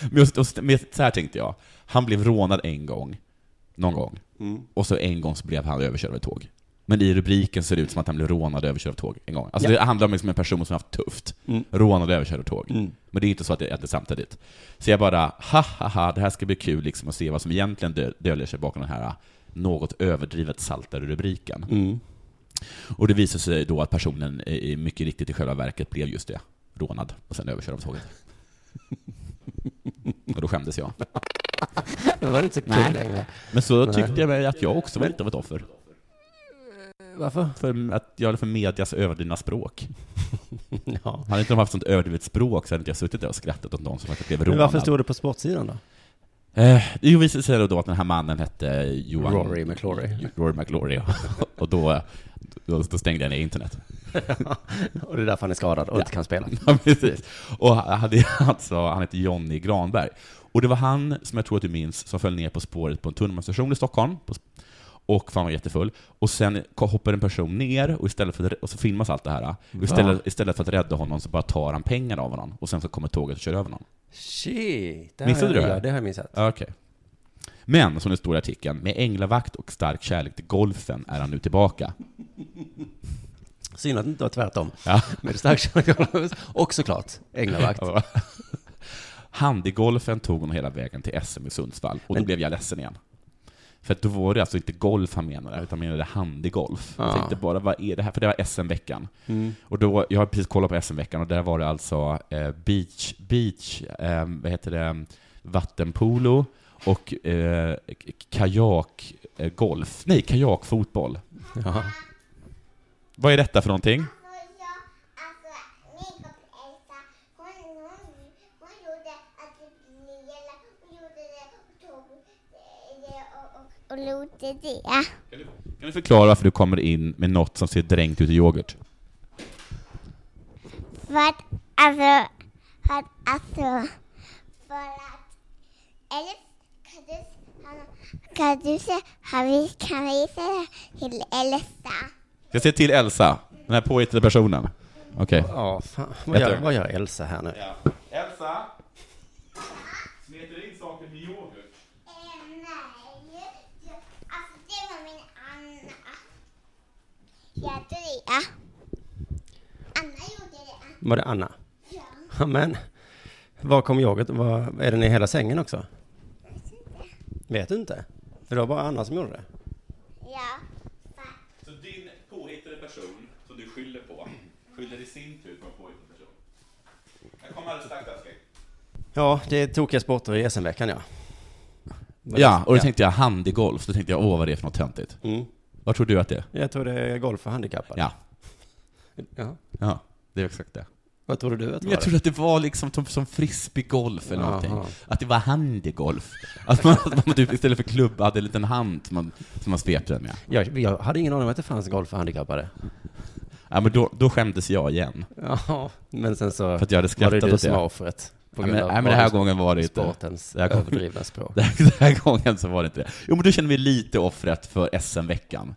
Speaker 4: Men just, och, men så här tänkte jag. Han blev rånad en gång, någon gång.
Speaker 3: Mm.
Speaker 4: Och så en gång så blev han överkörd av ett tåg. Men i rubriken ser det ut som att han blev rånad och överkörd av ett tåg en gång. Alltså
Speaker 3: Ja.
Speaker 4: det handlar om liksom en person som har haft tufft.
Speaker 3: Mm.
Speaker 4: Rånad och överkörd av tåg.
Speaker 3: Mm.
Speaker 4: Men det är inte så att det är samtidigt. Så jag bara, ha ha ha, det här ska bli kul liksom att se vad som egentligen dö- döljer sig bakom den här ah, något överdrivet saltade rubriken.
Speaker 3: Mm.
Speaker 4: Och det visar sig då att personen i- i- mycket riktigt i själva verket blev just det. Rånad och sen överkörd av tåget. Och då skämdes jag.
Speaker 3: Det var inte så kul
Speaker 4: Nej.
Speaker 3: längre.
Speaker 4: Men så
Speaker 3: Nej.
Speaker 4: tyckte jag väl att jag också var lite av ett offer.
Speaker 3: Varför?
Speaker 4: För att jag för medias överdrivna språk.
Speaker 3: Ja.
Speaker 4: Hade inte de haft sånt överdrivet språk så hade inte jag suttit där och skrattat åt någon som faktiskt blev
Speaker 3: Men
Speaker 4: rånad.
Speaker 3: varför stod det på sportsidan då?
Speaker 4: Eh, det visade sig då att den här mannen hette Johan...
Speaker 3: Rory McClory.
Speaker 4: Rory McLaury, ja. Och då, då, då stängde jag ner internet.
Speaker 3: Och det är därför han är skadad och inte kan spela.
Speaker 4: Ja, precis. Och han hade alltså, han hette Jonny Granberg. Och det var han, som jag tror att du minns, som föll ner på spåret på en tunnelbanestation i Stockholm. På- Och fan var jättefull. Och sen ko- hoppar en person ner, och, istället för att, och så filmas allt det här. Och istället, istället för att rädda honom så bara tar han pengar av honom. Och sen så kommer tåget och kör över honom.
Speaker 3: Shit! det
Speaker 4: Missade
Speaker 3: har
Speaker 4: du
Speaker 3: jag,
Speaker 4: det?
Speaker 3: Ja, det har jag missat.
Speaker 4: Ja, Okej. Men, som det står i artikeln, med änglavakt och stark kärlek till golfen är han nu tillbaka.
Speaker 3: Synd att det inte var tvärtom.
Speaker 4: Ja.
Speaker 3: Men stark kärlek och såklart änglavakt.
Speaker 4: Ja. Handigolfen tog hon hela vägen till SM i Sundsvall, och då blev jag ledsen igen. För att då var det alltså inte golf han menade, utan han menade handigolf.
Speaker 3: Ja.
Speaker 4: Jag tänkte bara, vad är det här? För det var SM-veckan. Och då, jag har precis kollat på SM-veckan, och där var det alltså eh, beach, beach eh, vad heter det, vattenpolo och eh, k- kajak, eh, golf. Nej, kajakfotboll.
Speaker 3: Ja.
Speaker 4: Vad är detta för någonting?
Speaker 5: Alltså, och låter det.
Speaker 4: Kan du förklara varför du kommer in med något som ser dränkt ut i yoghurt?
Speaker 5: För att alltså, för att alltså, för att, eller kan du, han- kan du se, har vi, kan vi säga till Elsa?
Speaker 4: Jag ser till Elsa, den här påhittade personen. Okej.
Speaker 3: Ja, fan. Vad
Speaker 4: Vet
Speaker 3: gör,
Speaker 4: du?
Speaker 3: vad gör Elsa här nu?
Speaker 4: Elsa! Smeter in saker med yoghurt?
Speaker 5: Eh, nej, jag- alltså det var min Anna. Jag tror det. Anna gjorde det.
Speaker 3: Var det Anna?
Speaker 5: Ja,
Speaker 3: Ja, men var kom yoghurt? Var, är den i hela sängen också? Vet du inte? För det var bara Anna som gjorde det.
Speaker 5: ja.
Speaker 4: Så
Speaker 5: För-
Speaker 4: din påhittade person, som du skyller på, skyller i sin tur på en påhittad person? Jag kommer alldeles strax, älskling.
Speaker 3: Ja, det är tokiga sporter i SM-veckan, ja.
Speaker 4: Ja, och då tänkte jag handigolf, då tänkte jag åh vad det är för något töntigt.
Speaker 3: Mm.
Speaker 4: Vad tror du att det är?
Speaker 3: Jag tror det är golf för handikappade.
Speaker 4: Ja,
Speaker 3: Ja.
Speaker 4: ja det är exakt det.
Speaker 3: Vad tror du att det
Speaker 4: Men jag
Speaker 3: var?
Speaker 4: trodde att det var liksom som, som frisbeegolf eller någonting.
Speaker 3: Jaha.
Speaker 4: Att det var handigolf. Att man, att man typ istället för klubba hade en liten hand som man, som man svepte den med.
Speaker 3: Jag, jag hade ingen aning om att det fanns golf för handikappade.
Speaker 4: Ja, men då, då skämdes jag igen.
Speaker 3: Ja, men sen så
Speaker 4: För att jag hade
Speaker 3: var
Speaker 4: skrattat
Speaker 3: det du
Speaker 4: åt
Speaker 3: som var
Speaker 4: det.
Speaker 3: offret. På
Speaker 4: Ja, men, nej, men den här gången var det inte
Speaker 3: sportens
Speaker 4: det här gången-
Speaker 3: överdrivna språk.
Speaker 4: den här gången så var det inte det. Jo, men då kände vi lite offret för SM-veckan.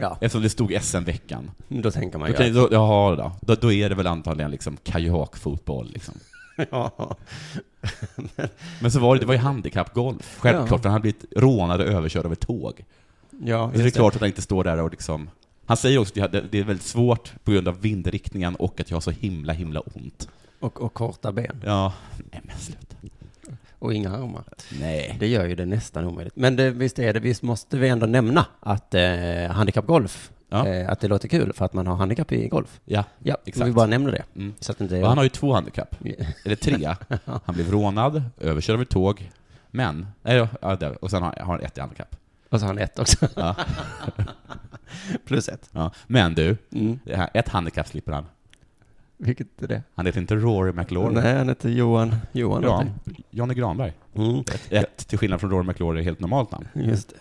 Speaker 3: Ja,
Speaker 4: Eftersom det stod SM-veckan.
Speaker 3: då tänker man
Speaker 4: Då
Speaker 3: ju.
Speaker 4: kan- då- Jaha, då. då. Då är det väl antagligen liksom kajakfotboll, liksom.
Speaker 3: att- Ja.
Speaker 4: Men så var det, det var ju handikappgolf. Självklart,
Speaker 3: Ja.
Speaker 4: för han hade blivit rånad och överkörd av ett tåg.
Speaker 3: Ja,
Speaker 4: Så det är klart att han inte står där och liksom... Han säger också att det- det är väldigt svårt på grund av vindriktningen och att jag har så himla, himla ont.
Speaker 3: Och, och korta ben
Speaker 4: Ja, nej men sluta.
Speaker 3: och inga armar.
Speaker 4: Nej.
Speaker 3: Det gör ju det nästan omöjligt. Men det, visst är det, visst måste vi ändå nämna att eh, handikappgolf,
Speaker 4: Ja.
Speaker 3: eh, att det låter kul för att man har handikapp i golf.
Speaker 4: Ja,
Speaker 3: Ja,
Speaker 4: exakt.
Speaker 3: vi bara nämner det.
Speaker 4: Mm.
Speaker 3: Så att inte
Speaker 4: Och han har ju två handikapp. Eller tre. Han blev rånad, överkörd av ett tåg, men... Nej, ja, ja, där. och sen har har han ett i handikapp.
Speaker 3: Och så har han ett också.
Speaker 4: Ja.
Speaker 3: Plus ett.
Speaker 4: Ja. Men du,
Speaker 3: Mm.
Speaker 4: det här- ett handikapp slipper han.
Speaker 3: Vilket är det?
Speaker 4: Han heter inte Rory McLaury.
Speaker 3: Nej, han heter Johan. Johan
Speaker 4: Gran, Johnny Granberg.
Speaker 3: mm.
Speaker 4: Ett, till skillnad från Rory McLaury, helt normalt namn.
Speaker 3: Just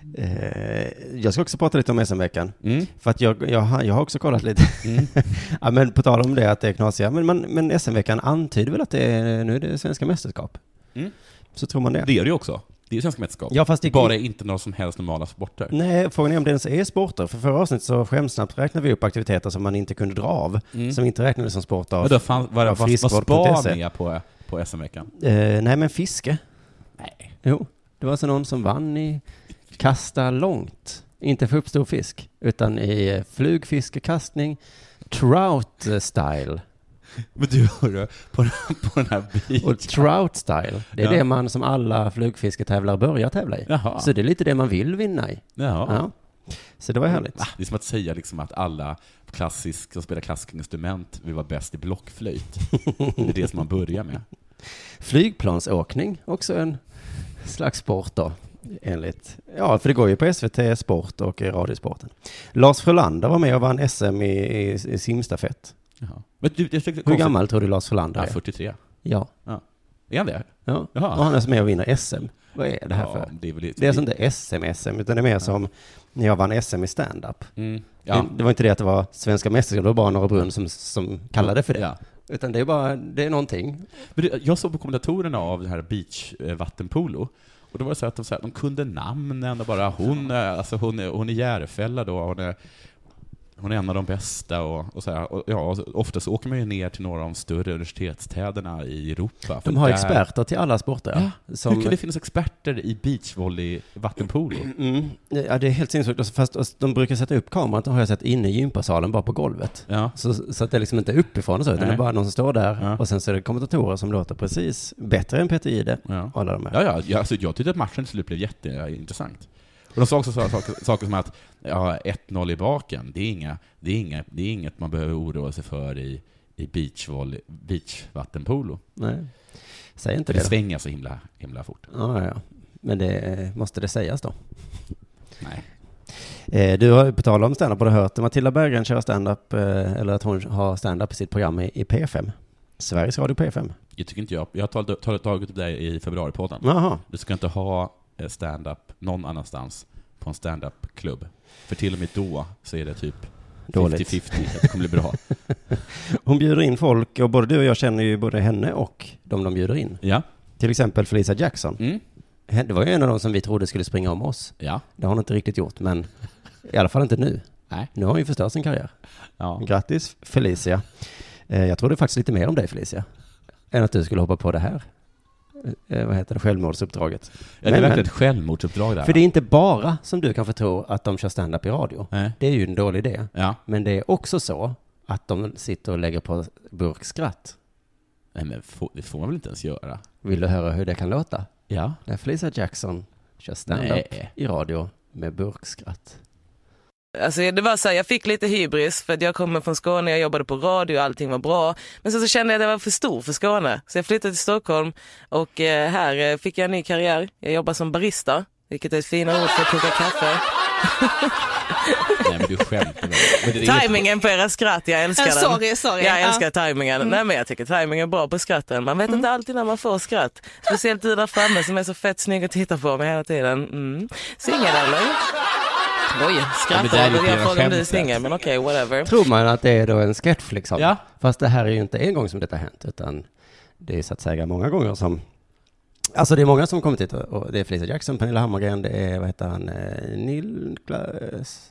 Speaker 3: det. Eh, jag ska också prata lite om SM-veckan.
Speaker 4: Mm.
Speaker 3: För att jag, jag, har- jag har också kollat lite. ja, men på tal om det att det är knasiga, men, man, men SM-veckan antyder väl att det är, nu är det svenska mästerskap?
Speaker 4: Mm.
Speaker 3: Så tror man det.
Speaker 4: Det är det ju också. Det är ju svenska mästerskap.
Speaker 3: Ja, fast det-
Speaker 4: Bara inte några som helst normala sporter.
Speaker 3: Nej, frågan är om det ens är sporter. För förra avsnittet så skämtsnabbt räknade vi upp aktiviteter som man inte kunde dra av,
Speaker 4: Mm.
Speaker 3: som inte räknades som sporter.
Speaker 4: Vadå, fan, var, var,
Speaker 3: av
Speaker 4: var,
Speaker 3: friskvård.se.
Speaker 4: spa med på, på SM-veckan?
Speaker 3: Eh, nej, men fiske.
Speaker 4: Nej.
Speaker 3: Jo, det var alltså någon som vann i kasta långt. Inte för uppstor fisk, utan i eh, flugfiskekastning, trout eh, style.
Speaker 4: Men du, hörru, på, den- på den här bilen.
Speaker 3: Och trout style, det är
Speaker 4: Ja.
Speaker 3: det man som alla flugfisketävlare börjar tävla i.
Speaker 4: Jaha.
Speaker 3: Så det är lite det man vill vinna i.
Speaker 4: Jaha.
Speaker 3: Ja. Så det var härligt.
Speaker 4: Ah, Det är som att säga liksom att alla klassisk, som spelar klassiska instrument vill vara bäst i blockflöjt. Det är det som man börjar med.
Speaker 3: Flygplansåkning, också en slags sport då, enligt... Ja, för det går ju på SVT Sport och i Radiosporten. Lars Frölander var med och vann SM i, i, i simstafett.
Speaker 4: Jaha. Men Men du, jag tyckte,
Speaker 3: Hur gammal tror du Lars Frölander
Speaker 4: Ja,
Speaker 3: är?
Speaker 4: 43.
Speaker 3: Ja.
Speaker 4: Är han det?
Speaker 3: ja. Och
Speaker 4: Jaha.
Speaker 3: han är med och vinner SM. Vad är det här för?
Speaker 4: det är väl
Speaker 3: Det är alltså inte SM-SM, utan det är mer som när jag vann SM i stand-up.
Speaker 4: Mm. Ja.
Speaker 3: Det, det var inte det att det var svenska mästerskap, det var bara några brunn som, som kallade det för det.
Speaker 4: Ja.
Speaker 3: Utan det är bara, det är någonting.
Speaker 4: Men det- Jag såg på kommentatorerna av det här beachvattenpolo, och då var det så att de, så här, de kunde namnen och bara hon, är- alltså hon, är- hon är Järfälla då, hon är, hon är en av de bästa och, och så här, och, ja, och ofta så åker man ju ner till några av de större universitetstäderna i Europa. för
Speaker 3: De har
Speaker 4: där-
Speaker 3: experter till alla sporter.
Speaker 4: Ja.
Speaker 3: Som,
Speaker 4: Hur kan det finnas experter i beachvolley, vattenpolo?
Speaker 3: mm, ja, det är helt sinnessjukt. Och så- Fast alltså, de brukar sätta upp kameran, det har jag sett, inne i gympasalen, bara på golvet.
Speaker 4: Ja.
Speaker 3: Så, så att det liksom inte är uppifrån och så, utan
Speaker 4: Nej.
Speaker 3: det är bara någon som står där.
Speaker 4: Ja.
Speaker 3: Och sen så är det kommentatorer som låter precis bättre än Peter Jihde.
Speaker 4: Ja.
Speaker 3: Alla de här.
Speaker 4: Ja, ja, ja alltså, jag tyckte att matchen till slut blev jätteintressant. Och de sa också så- saker, saker som att ja, 1-0 i baken, det är, inga, det, är inga, det är inget man behöver oroa sig för i, i beachvolley, beachvattenpolo.
Speaker 3: Nej. Säg inte
Speaker 4: För
Speaker 3: det.
Speaker 4: det
Speaker 3: då.
Speaker 4: svänger så himla, himla fort.
Speaker 3: Ja, ja, ja. Men det, eh, måste det sägas då?
Speaker 4: Nej.
Speaker 3: Eh, du har ju på tal om standup, har du hört Matilda Berggren köra standup, eh, eller att hon har standup i sitt program i, i P5? Sveriges Radio P5.
Speaker 4: Jag tycker inte jag, jag har tagit, tagit- tagit upp det här i februaripodden.
Speaker 3: Jaha.
Speaker 4: Du ska inte ha eh, stand-up någon annanstans på en stand-up-klubb. För till och med då så är det typ
Speaker 3: Dåligt.
Speaker 4: 50-50 att det kommer bli bra.
Speaker 3: Hon bjuder in folk, och både du och jag känner ju både henne och de de bjuder in.
Speaker 4: Ja.
Speaker 3: Till exempel Felicia Jackson.
Speaker 4: Mm.
Speaker 3: Det var ju en av de som vi trodde skulle springa om oss.
Speaker 4: Ja.
Speaker 3: Det har hon inte riktigt gjort, men i alla fall inte nu.
Speaker 4: Nej.
Speaker 3: Nu har hon ju förstört sin karriär.
Speaker 4: Ja.
Speaker 3: Grattis Felicia. Eh, Jag trodde faktiskt lite mer om dig Felicia, än att du skulle hoppa på det här. Eh, Vad heter det? Självmordsuppdraget.
Speaker 4: Ja, det är
Speaker 3: Men,
Speaker 4: verkligen
Speaker 3: men.
Speaker 4: ett självmordsuppdrag där.
Speaker 3: För det är inte bara, som du kanske tror, att de kör stand-up i radio.
Speaker 4: Nej.
Speaker 3: Det är ju en dålig idé.
Speaker 4: Ja.
Speaker 3: Men det är också så att de sitter och lägger på burkskratt.
Speaker 4: Nej men få- det får man väl inte ens göra?
Speaker 3: Vill du höra hur det kan låta?
Speaker 4: Ja.
Speaker 3: När Felicia Jackson kör stand-up
Speaker 4: Nej.
Speaker 3: i radio med burkskratt.
Speaker 6: Alltså det var så här, jag fick lite hybris för att jag kommer från Skåne, jag jobbade på radio och allting var bra. Men sen så kände jag att jag var för stor för Skåne. Så jag flyttade till Stockholm och eh, här eh, fick jag en ny karriär. Jag jobbar som barista, vilket är ett finare ord för att koka kaffe.
Speaker 4: Nej men du skämtar väl? Men det är inget-
Speaker 6: Timingen på era skratt, jag älskar
Speaker 7: Eh,
Speaker 6: den.
Speaker 7: sorry, sorry.
Speaker 6: Jag
Speaker 7: Ja. Mm.
Speaker 6: älskar timingen. Nej men jag tycker timingen är bra på skratten. Man vet inte alltid när man får skratt. Speciellt du där framme som är så fett snygg att titta på mig hela tiden. Mm. Singel eller?
Speaker 4: Ja, men
Speaker 6: Oj,
Speaker 4: där är
Speaker 6: skrattar
Speaker 4: lite
Speaker 6: du? Jag
Speaker 4: grann
Speaker 6: frågar om du är
Speaker 4: skämtet.
Speaker 6: singel men okej, whatever.
Speaker 3: Tror man att det är då en sketch liksom?
Speaker 4: Ja.
Speaker 3: Fast det här är ju inte en gång som detta har hänt, utan det är så att säga många gånger som Alltså det är många som har kommit hit och- och det är Felicia Jackson, Pernilla Hammargren, det är vad heter han, eh, Niklas,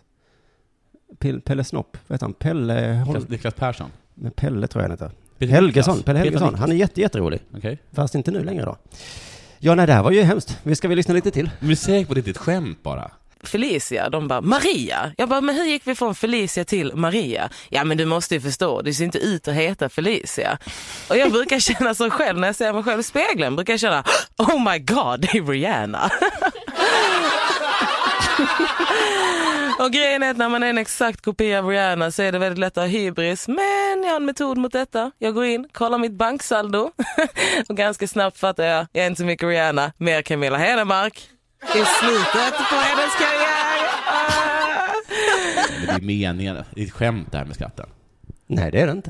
Speaker 3: Pil- Pelle Snopp, vad heter han, Pelle,
Speaker 4: Niklas-
Speaker 3: Holm,
Speaker 4: Niklas Persson?
Speaker 3: men Pelle tror jag han heter.
Speaker 4: Peter
Speaker 3: Helgesson,
Speaker 4: Niklas.
Speaker 3: Pelle
Speaker 4: Peter
Speaker 3: Helgesson,
Speaker 4: Niklas.
Speaker 3: han är jätte, jätterolig.
Speaker 4: Okej.
Speaker 3: Fast inte nu längre då. Ja, nej, det här var ju hemskt. Vi ska vi lyssna lite till.
Speaker 4: Men du är säker på att det inte är ett skämt bara?
Speaker 6: Felicia, de bara Maria. Jag bara, men hur gick vi från Felicia till Maria? Ja men du måste ju förstå, det ser inte ut att heta Felicia. Och jag brukar känna så själv när jag ser mig själv i spegeln, brukar jag känna Oh my god, det är Rihanna. Och grejen är att när man är en exakt kopia av Rihanna så är det väldigt lätt att ha hybris. Men jag har en metod mot detta. Jag går in, kollar mitt banksaldo och ganska snabbt fattar jag, jag är inte så mycket Rihanna, mer Camilla Henemark i slutet på hennes karriär. Ah.
Speaker 4: Nej, Men det är meningen. Det är ett skämt det här med skratten.
Speaker 3: Nej, det är det inte.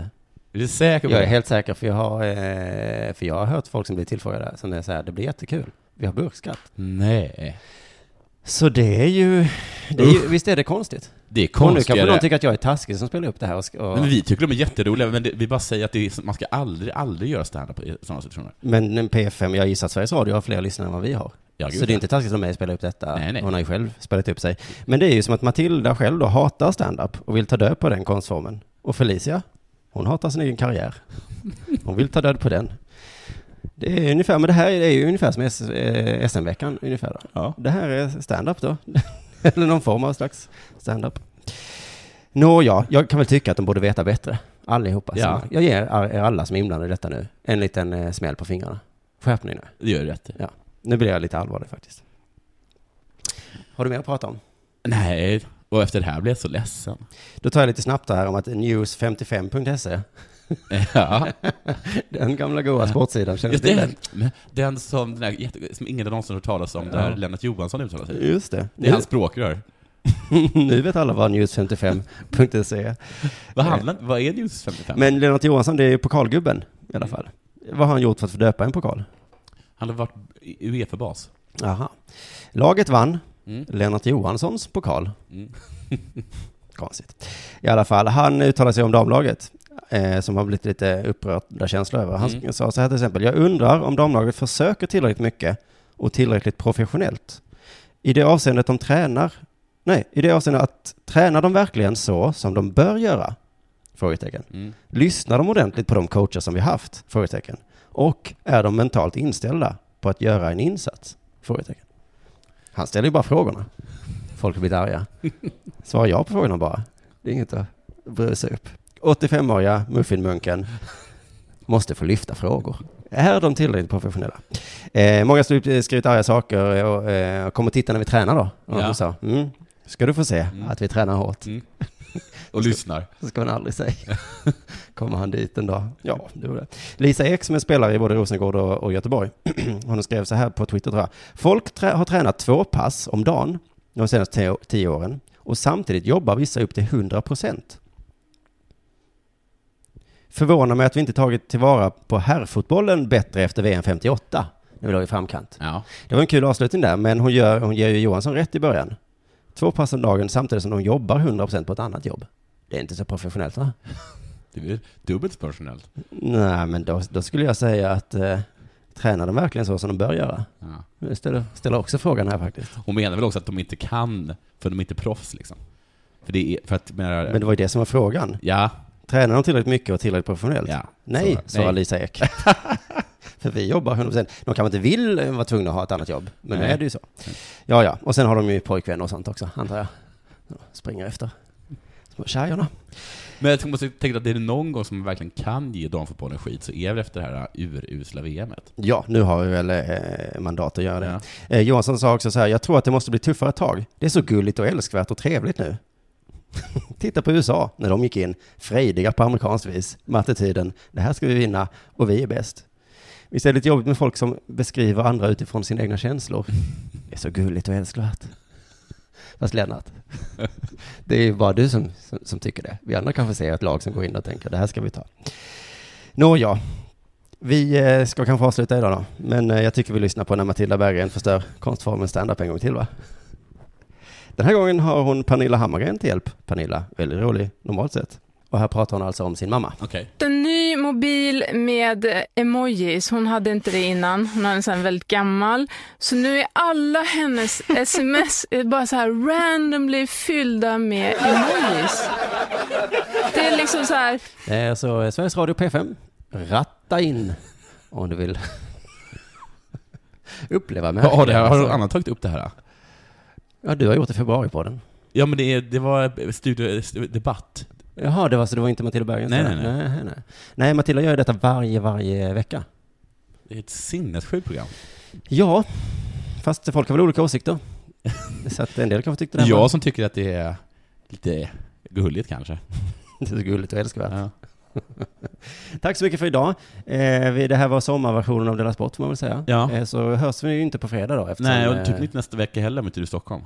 Speaker 4: Är du säker på
Speaker 3: Jag är
Speaker 4: det?
Speaker 3: helt säker, för jag har, eh, för jag har hört folk som blir tillfrågade, som är så här, det blir jättekul. Vi har burkskratt.
Speaker 4: Nej.
Speaker 3: Så det är ju, det är ju visst är det konstigt?
Speaker 4: Det är
Speaker 3: Och nu kanske
Speaker 4: konstigare.
Speaker 3: någon tycker att jag är taskig som spelar upp det här och, sk- och
Speaker 4: Nej, Men vi tycker de är jätteroliga, men det, vi bara säger att det är, man ska aldrig, aldrig göra stand-up i sådana situationer.
Speaker 3: Men en P5, jag gissar att Sveriges Radio har fler lyssnare än vad vi har.
Speaker 4: Ja, gud,
Speaker 3: så det är
Speaker 4: ja.
Speaker 3: inte taskigt av mig att spela upp detta.
Speaker 4: Nej, nej.
Speaker 3: Hon har ju själv spelat upp sig. Men det är ju som att Matilda själv då hatar stand-up och vill ta död på den konstformen. Och Felicia, hon hatar sin egen karriär. Hon vill ta död på den. Det är ungefär, men det här är ju ungefär som S- eh, SM-veckan ungefär då.
Speaker 4: Ja.
Speaker 3: Det här är stand-up då. Eller någon form av slags stand-up. Nåja, jag kan väl tycka att de borde veta bättre. Allihopa.
Speaker 4: Ja.
Speaker 3: Jag ger er alla som är inblandade i detta nu en liten eh, smäll på fingrarna. Skärpning nu.
Speaker 4: Det gör du rätt i.
Speaker 3: Ja. Nu blir jag lite allvarlig faktiskt. Har du mer att prata om?
Speaker 4: Nej, och efter det här blir jag så ledsen.
Speaker 3: Då tar jag lite snabbt här om att news55.se,
Speaker 4: Ja.
Speaker 3: den gamla goa sportsidan, känner
Speaker 4: Just
Speaker 3: du till
Speaker 4: den,
Speaker 3: den?
Speaker 4: men den som, den här, jätte- som ingen har någonsin hört talas om, där Lennart Johansson uttalar sig.
Speaker 3: Just det.
Speaker 4: Det är hans språkrör.
Speaker 3: nu vet alla vad news55.se
Speaker 4: Vad, handlar, vad är News 55?
Speaker 3: Men Lennart Johansson, det är ju pokalgubben i alla fall. Vad har han gjort för att få döpa en pokal?
Speaker 4: Han har varit i- E Uefa-bas.
Speaker 3: Aha. Laget vann
Speaker 4: Mm.
Speaker 3: Lennart Johanssons pokal.
Speaker 4: Mm.
Speaker 3: Konstigt. I alla fall, han uttalar sig om damlaget, eh, som har blivit lite upprörda känslor över. Han
Speaker 4: Mm.
Speaker 3: sa så här till exempel, jag undrar om damlaget försöker tillräckligt mycket och tillräckligt professionellt. I det avseendet de tränar, nej, i det avseendet att tränar de verkligen så som de bör göra? Frågetecken.
Speaker 4: Mm.
Speaker 3: Lyssnar de ordentligt på de coacher som vi haft? Frågetecken. Och är de mentalt inställda på att göra en insats? Frågetecken. Han ställer ju bara frågorna. Folk blir arga. Svarar jag på frågorna bara. Det är inget att bry sig upp. 85-åriga muffinmunken måste få lyfta frågor. Är de tillräckligt professionella? Eh, många har skrivit arga saker och eh, kommer titta när vi tränar då. Och
Speaker 4: Ja.
Speaker 3: de sa, mm, ska du få se att vi tränar hårt.
Speaker 4: Och lyssnar.
Speaker 3: Det ska man aldrig säga. Kommer han dit en dag? Ja, det var det. Lisa Ek som är spelare i både Rosengård och, och Göteborg. Hon skrev så här på Twitter tror jag. Folk trä- har tränat två pass om dagen de senaste tio, tio åren och samtidigt jobbar vissa upp till 100 procent. Förvånar mig att vi inte tagit tillvara på herrfotbollen bättre efter VM 58. Nu låg i framkant.
Speaker 4: Ja.
Speaker 3: Det var en kul avslutning där, men hon, gör, hon ger ju Johansson rätt i början. Två pass om dagen samtidigt som de jobbar 100% på ett annat jobb. Det är inte så professionellt va?
Speaker 4: Det är dubbelt så professionellt.
Speaker 3: Nej, men då, då skulle jag säga att eh, tränar de verkligen så som de bör göra?
Speaker 4: Ja.
Speaker 3: Jag ställer, ställer också frågan här faktiskt.
Speaker 4: Hon menar väl också att de inte kan, för de är inte proffs liksom. För det är, för att, menar,
Speaker 3: Men det var ju det som var frågan.
Speaker 4: ja,
Speaker 3: Tränar de tillräckligt mycket och tillräckligt professionellt?
Speaker 4: Ja,
Speaker 3: Alltså, Nej,
Speaker 4: så-
Speaker 3: svarar
Speaker 4: nej.
Speaker 3: Lisa Ek. För vi jobbar 100%. De kanske inte vill eh, vara tvungna att ha ett annat jobb, men nu
Speaker 4: Nej.
Speaker 3: är det ju så. Ja, ja, och sen har de ju pojkvänner och sånt också, antar jag. De springer efter. Små tjejerna.
Speaker 4: men jag måste tänka att det är någon gång som man verkligen kan ge damfotbollen skit så är det efter det här urusla VMet.
Speaker 3: Ja, nu har vi väl eh, mandat att göra det.
Speaker 4: Ja.
Speaker 3: Eh, Johansson sa också så här, jag tror att det måste bli tuffare tag. Det är så gulligt och älskvärt och trevligt nu. Titta på USA, när de gick in, frejdiga på amerikanskt vis, med attityden, det här ska vi vinna och vi är bäst. Visst är det lite jobbigt med folk som beskriver andra utifrån sina egna känslor. Det är så gulligt och älskvärt. Fast Lennart, det är ju bara du som, som, som tycker det. Vi andra kanske ser ett lag som går in och tänker, det här ska vi ta. Nåja, vi eh, ska kanske avsluta idag då, men eh, jag tycker vi lyssnar på när Matilda Berggren förstör konstformen stand-up en gång till va? Den här gången har hon Pernilla Hammargren till hjälp. Pernilla, väldigt rolig normalt sett. Och här pratar hon alltså om sin mamma.
Speaker 4: Okej.
Speaker 7: En ny mobil med eh, emojis. Hon hade inte det innan. Hon hade en sån här väldigt gammal. Så nu är alla hennes sms är bara så här randomly fyllda med emojis. Det är liksom så här,
Speaker 3: Eh, Så eh, Sveriges Radio P5, ratta in om du vill uppleva med.
Speaker 4: Ja, det här, har någon annan tagit upp det här?
Speaker 3: Ja, du har gjort det i februaripodden.
Speaker 4: Ja, men det, är, det var studio, stu- debatt.
Speaker 3: Jaha, det var så det var inte Matilda Berggren?
Speaker 4: Nej,
Speaker 3: så-
Speaker 4: nej, nej.
Speaker 3: nej. nej. Nej, Matilda gör ju detta varje, varje vecka.
Speaker 4: Det är ett sinnessjukt program.
Speaker 3: Ja, fast folk har väl olika åsikter. Så att en del kanske tyckte det här
Speaker 4: Jag som tycker att det är lite gulligt kanske.
Speaker 3: var så gulligt och älskvärt.
Speaker 4: Ja.
Speaker 3: Tack så mycket för idag. Eh, vi- det här var sommarversionen av Della Sport får man väl säga.
Speaker 4: Ja.
Speaker 3: Eh, så hörs vi ju inte på fredag då. Eftersom,
Speaker 4: Nej, och typ
Speaker 3: eh,
Speaker 4: inte nästa vecka heller om inte du är i Stockholm.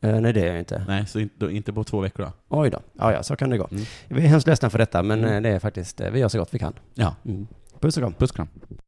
Speaker 3: eh, nej, det är jag inte.
Speaker 4: Nej, så inte, då- inte på två veckor då.
Speaker 3: Oj då. Ja, ja, så kan det gå.
Speaker 4: Mm.
Speaker 3: Vi är hemskt ledsna för detta, men
Speaker 4: Mm.
Speaker 3: eh, det är faktiskt, eh, vi gör så gott vi kan.
Speaker 4: Ja.
Speaker 3: Mm. Puss och kram.
Speaker 4: Puss och kram.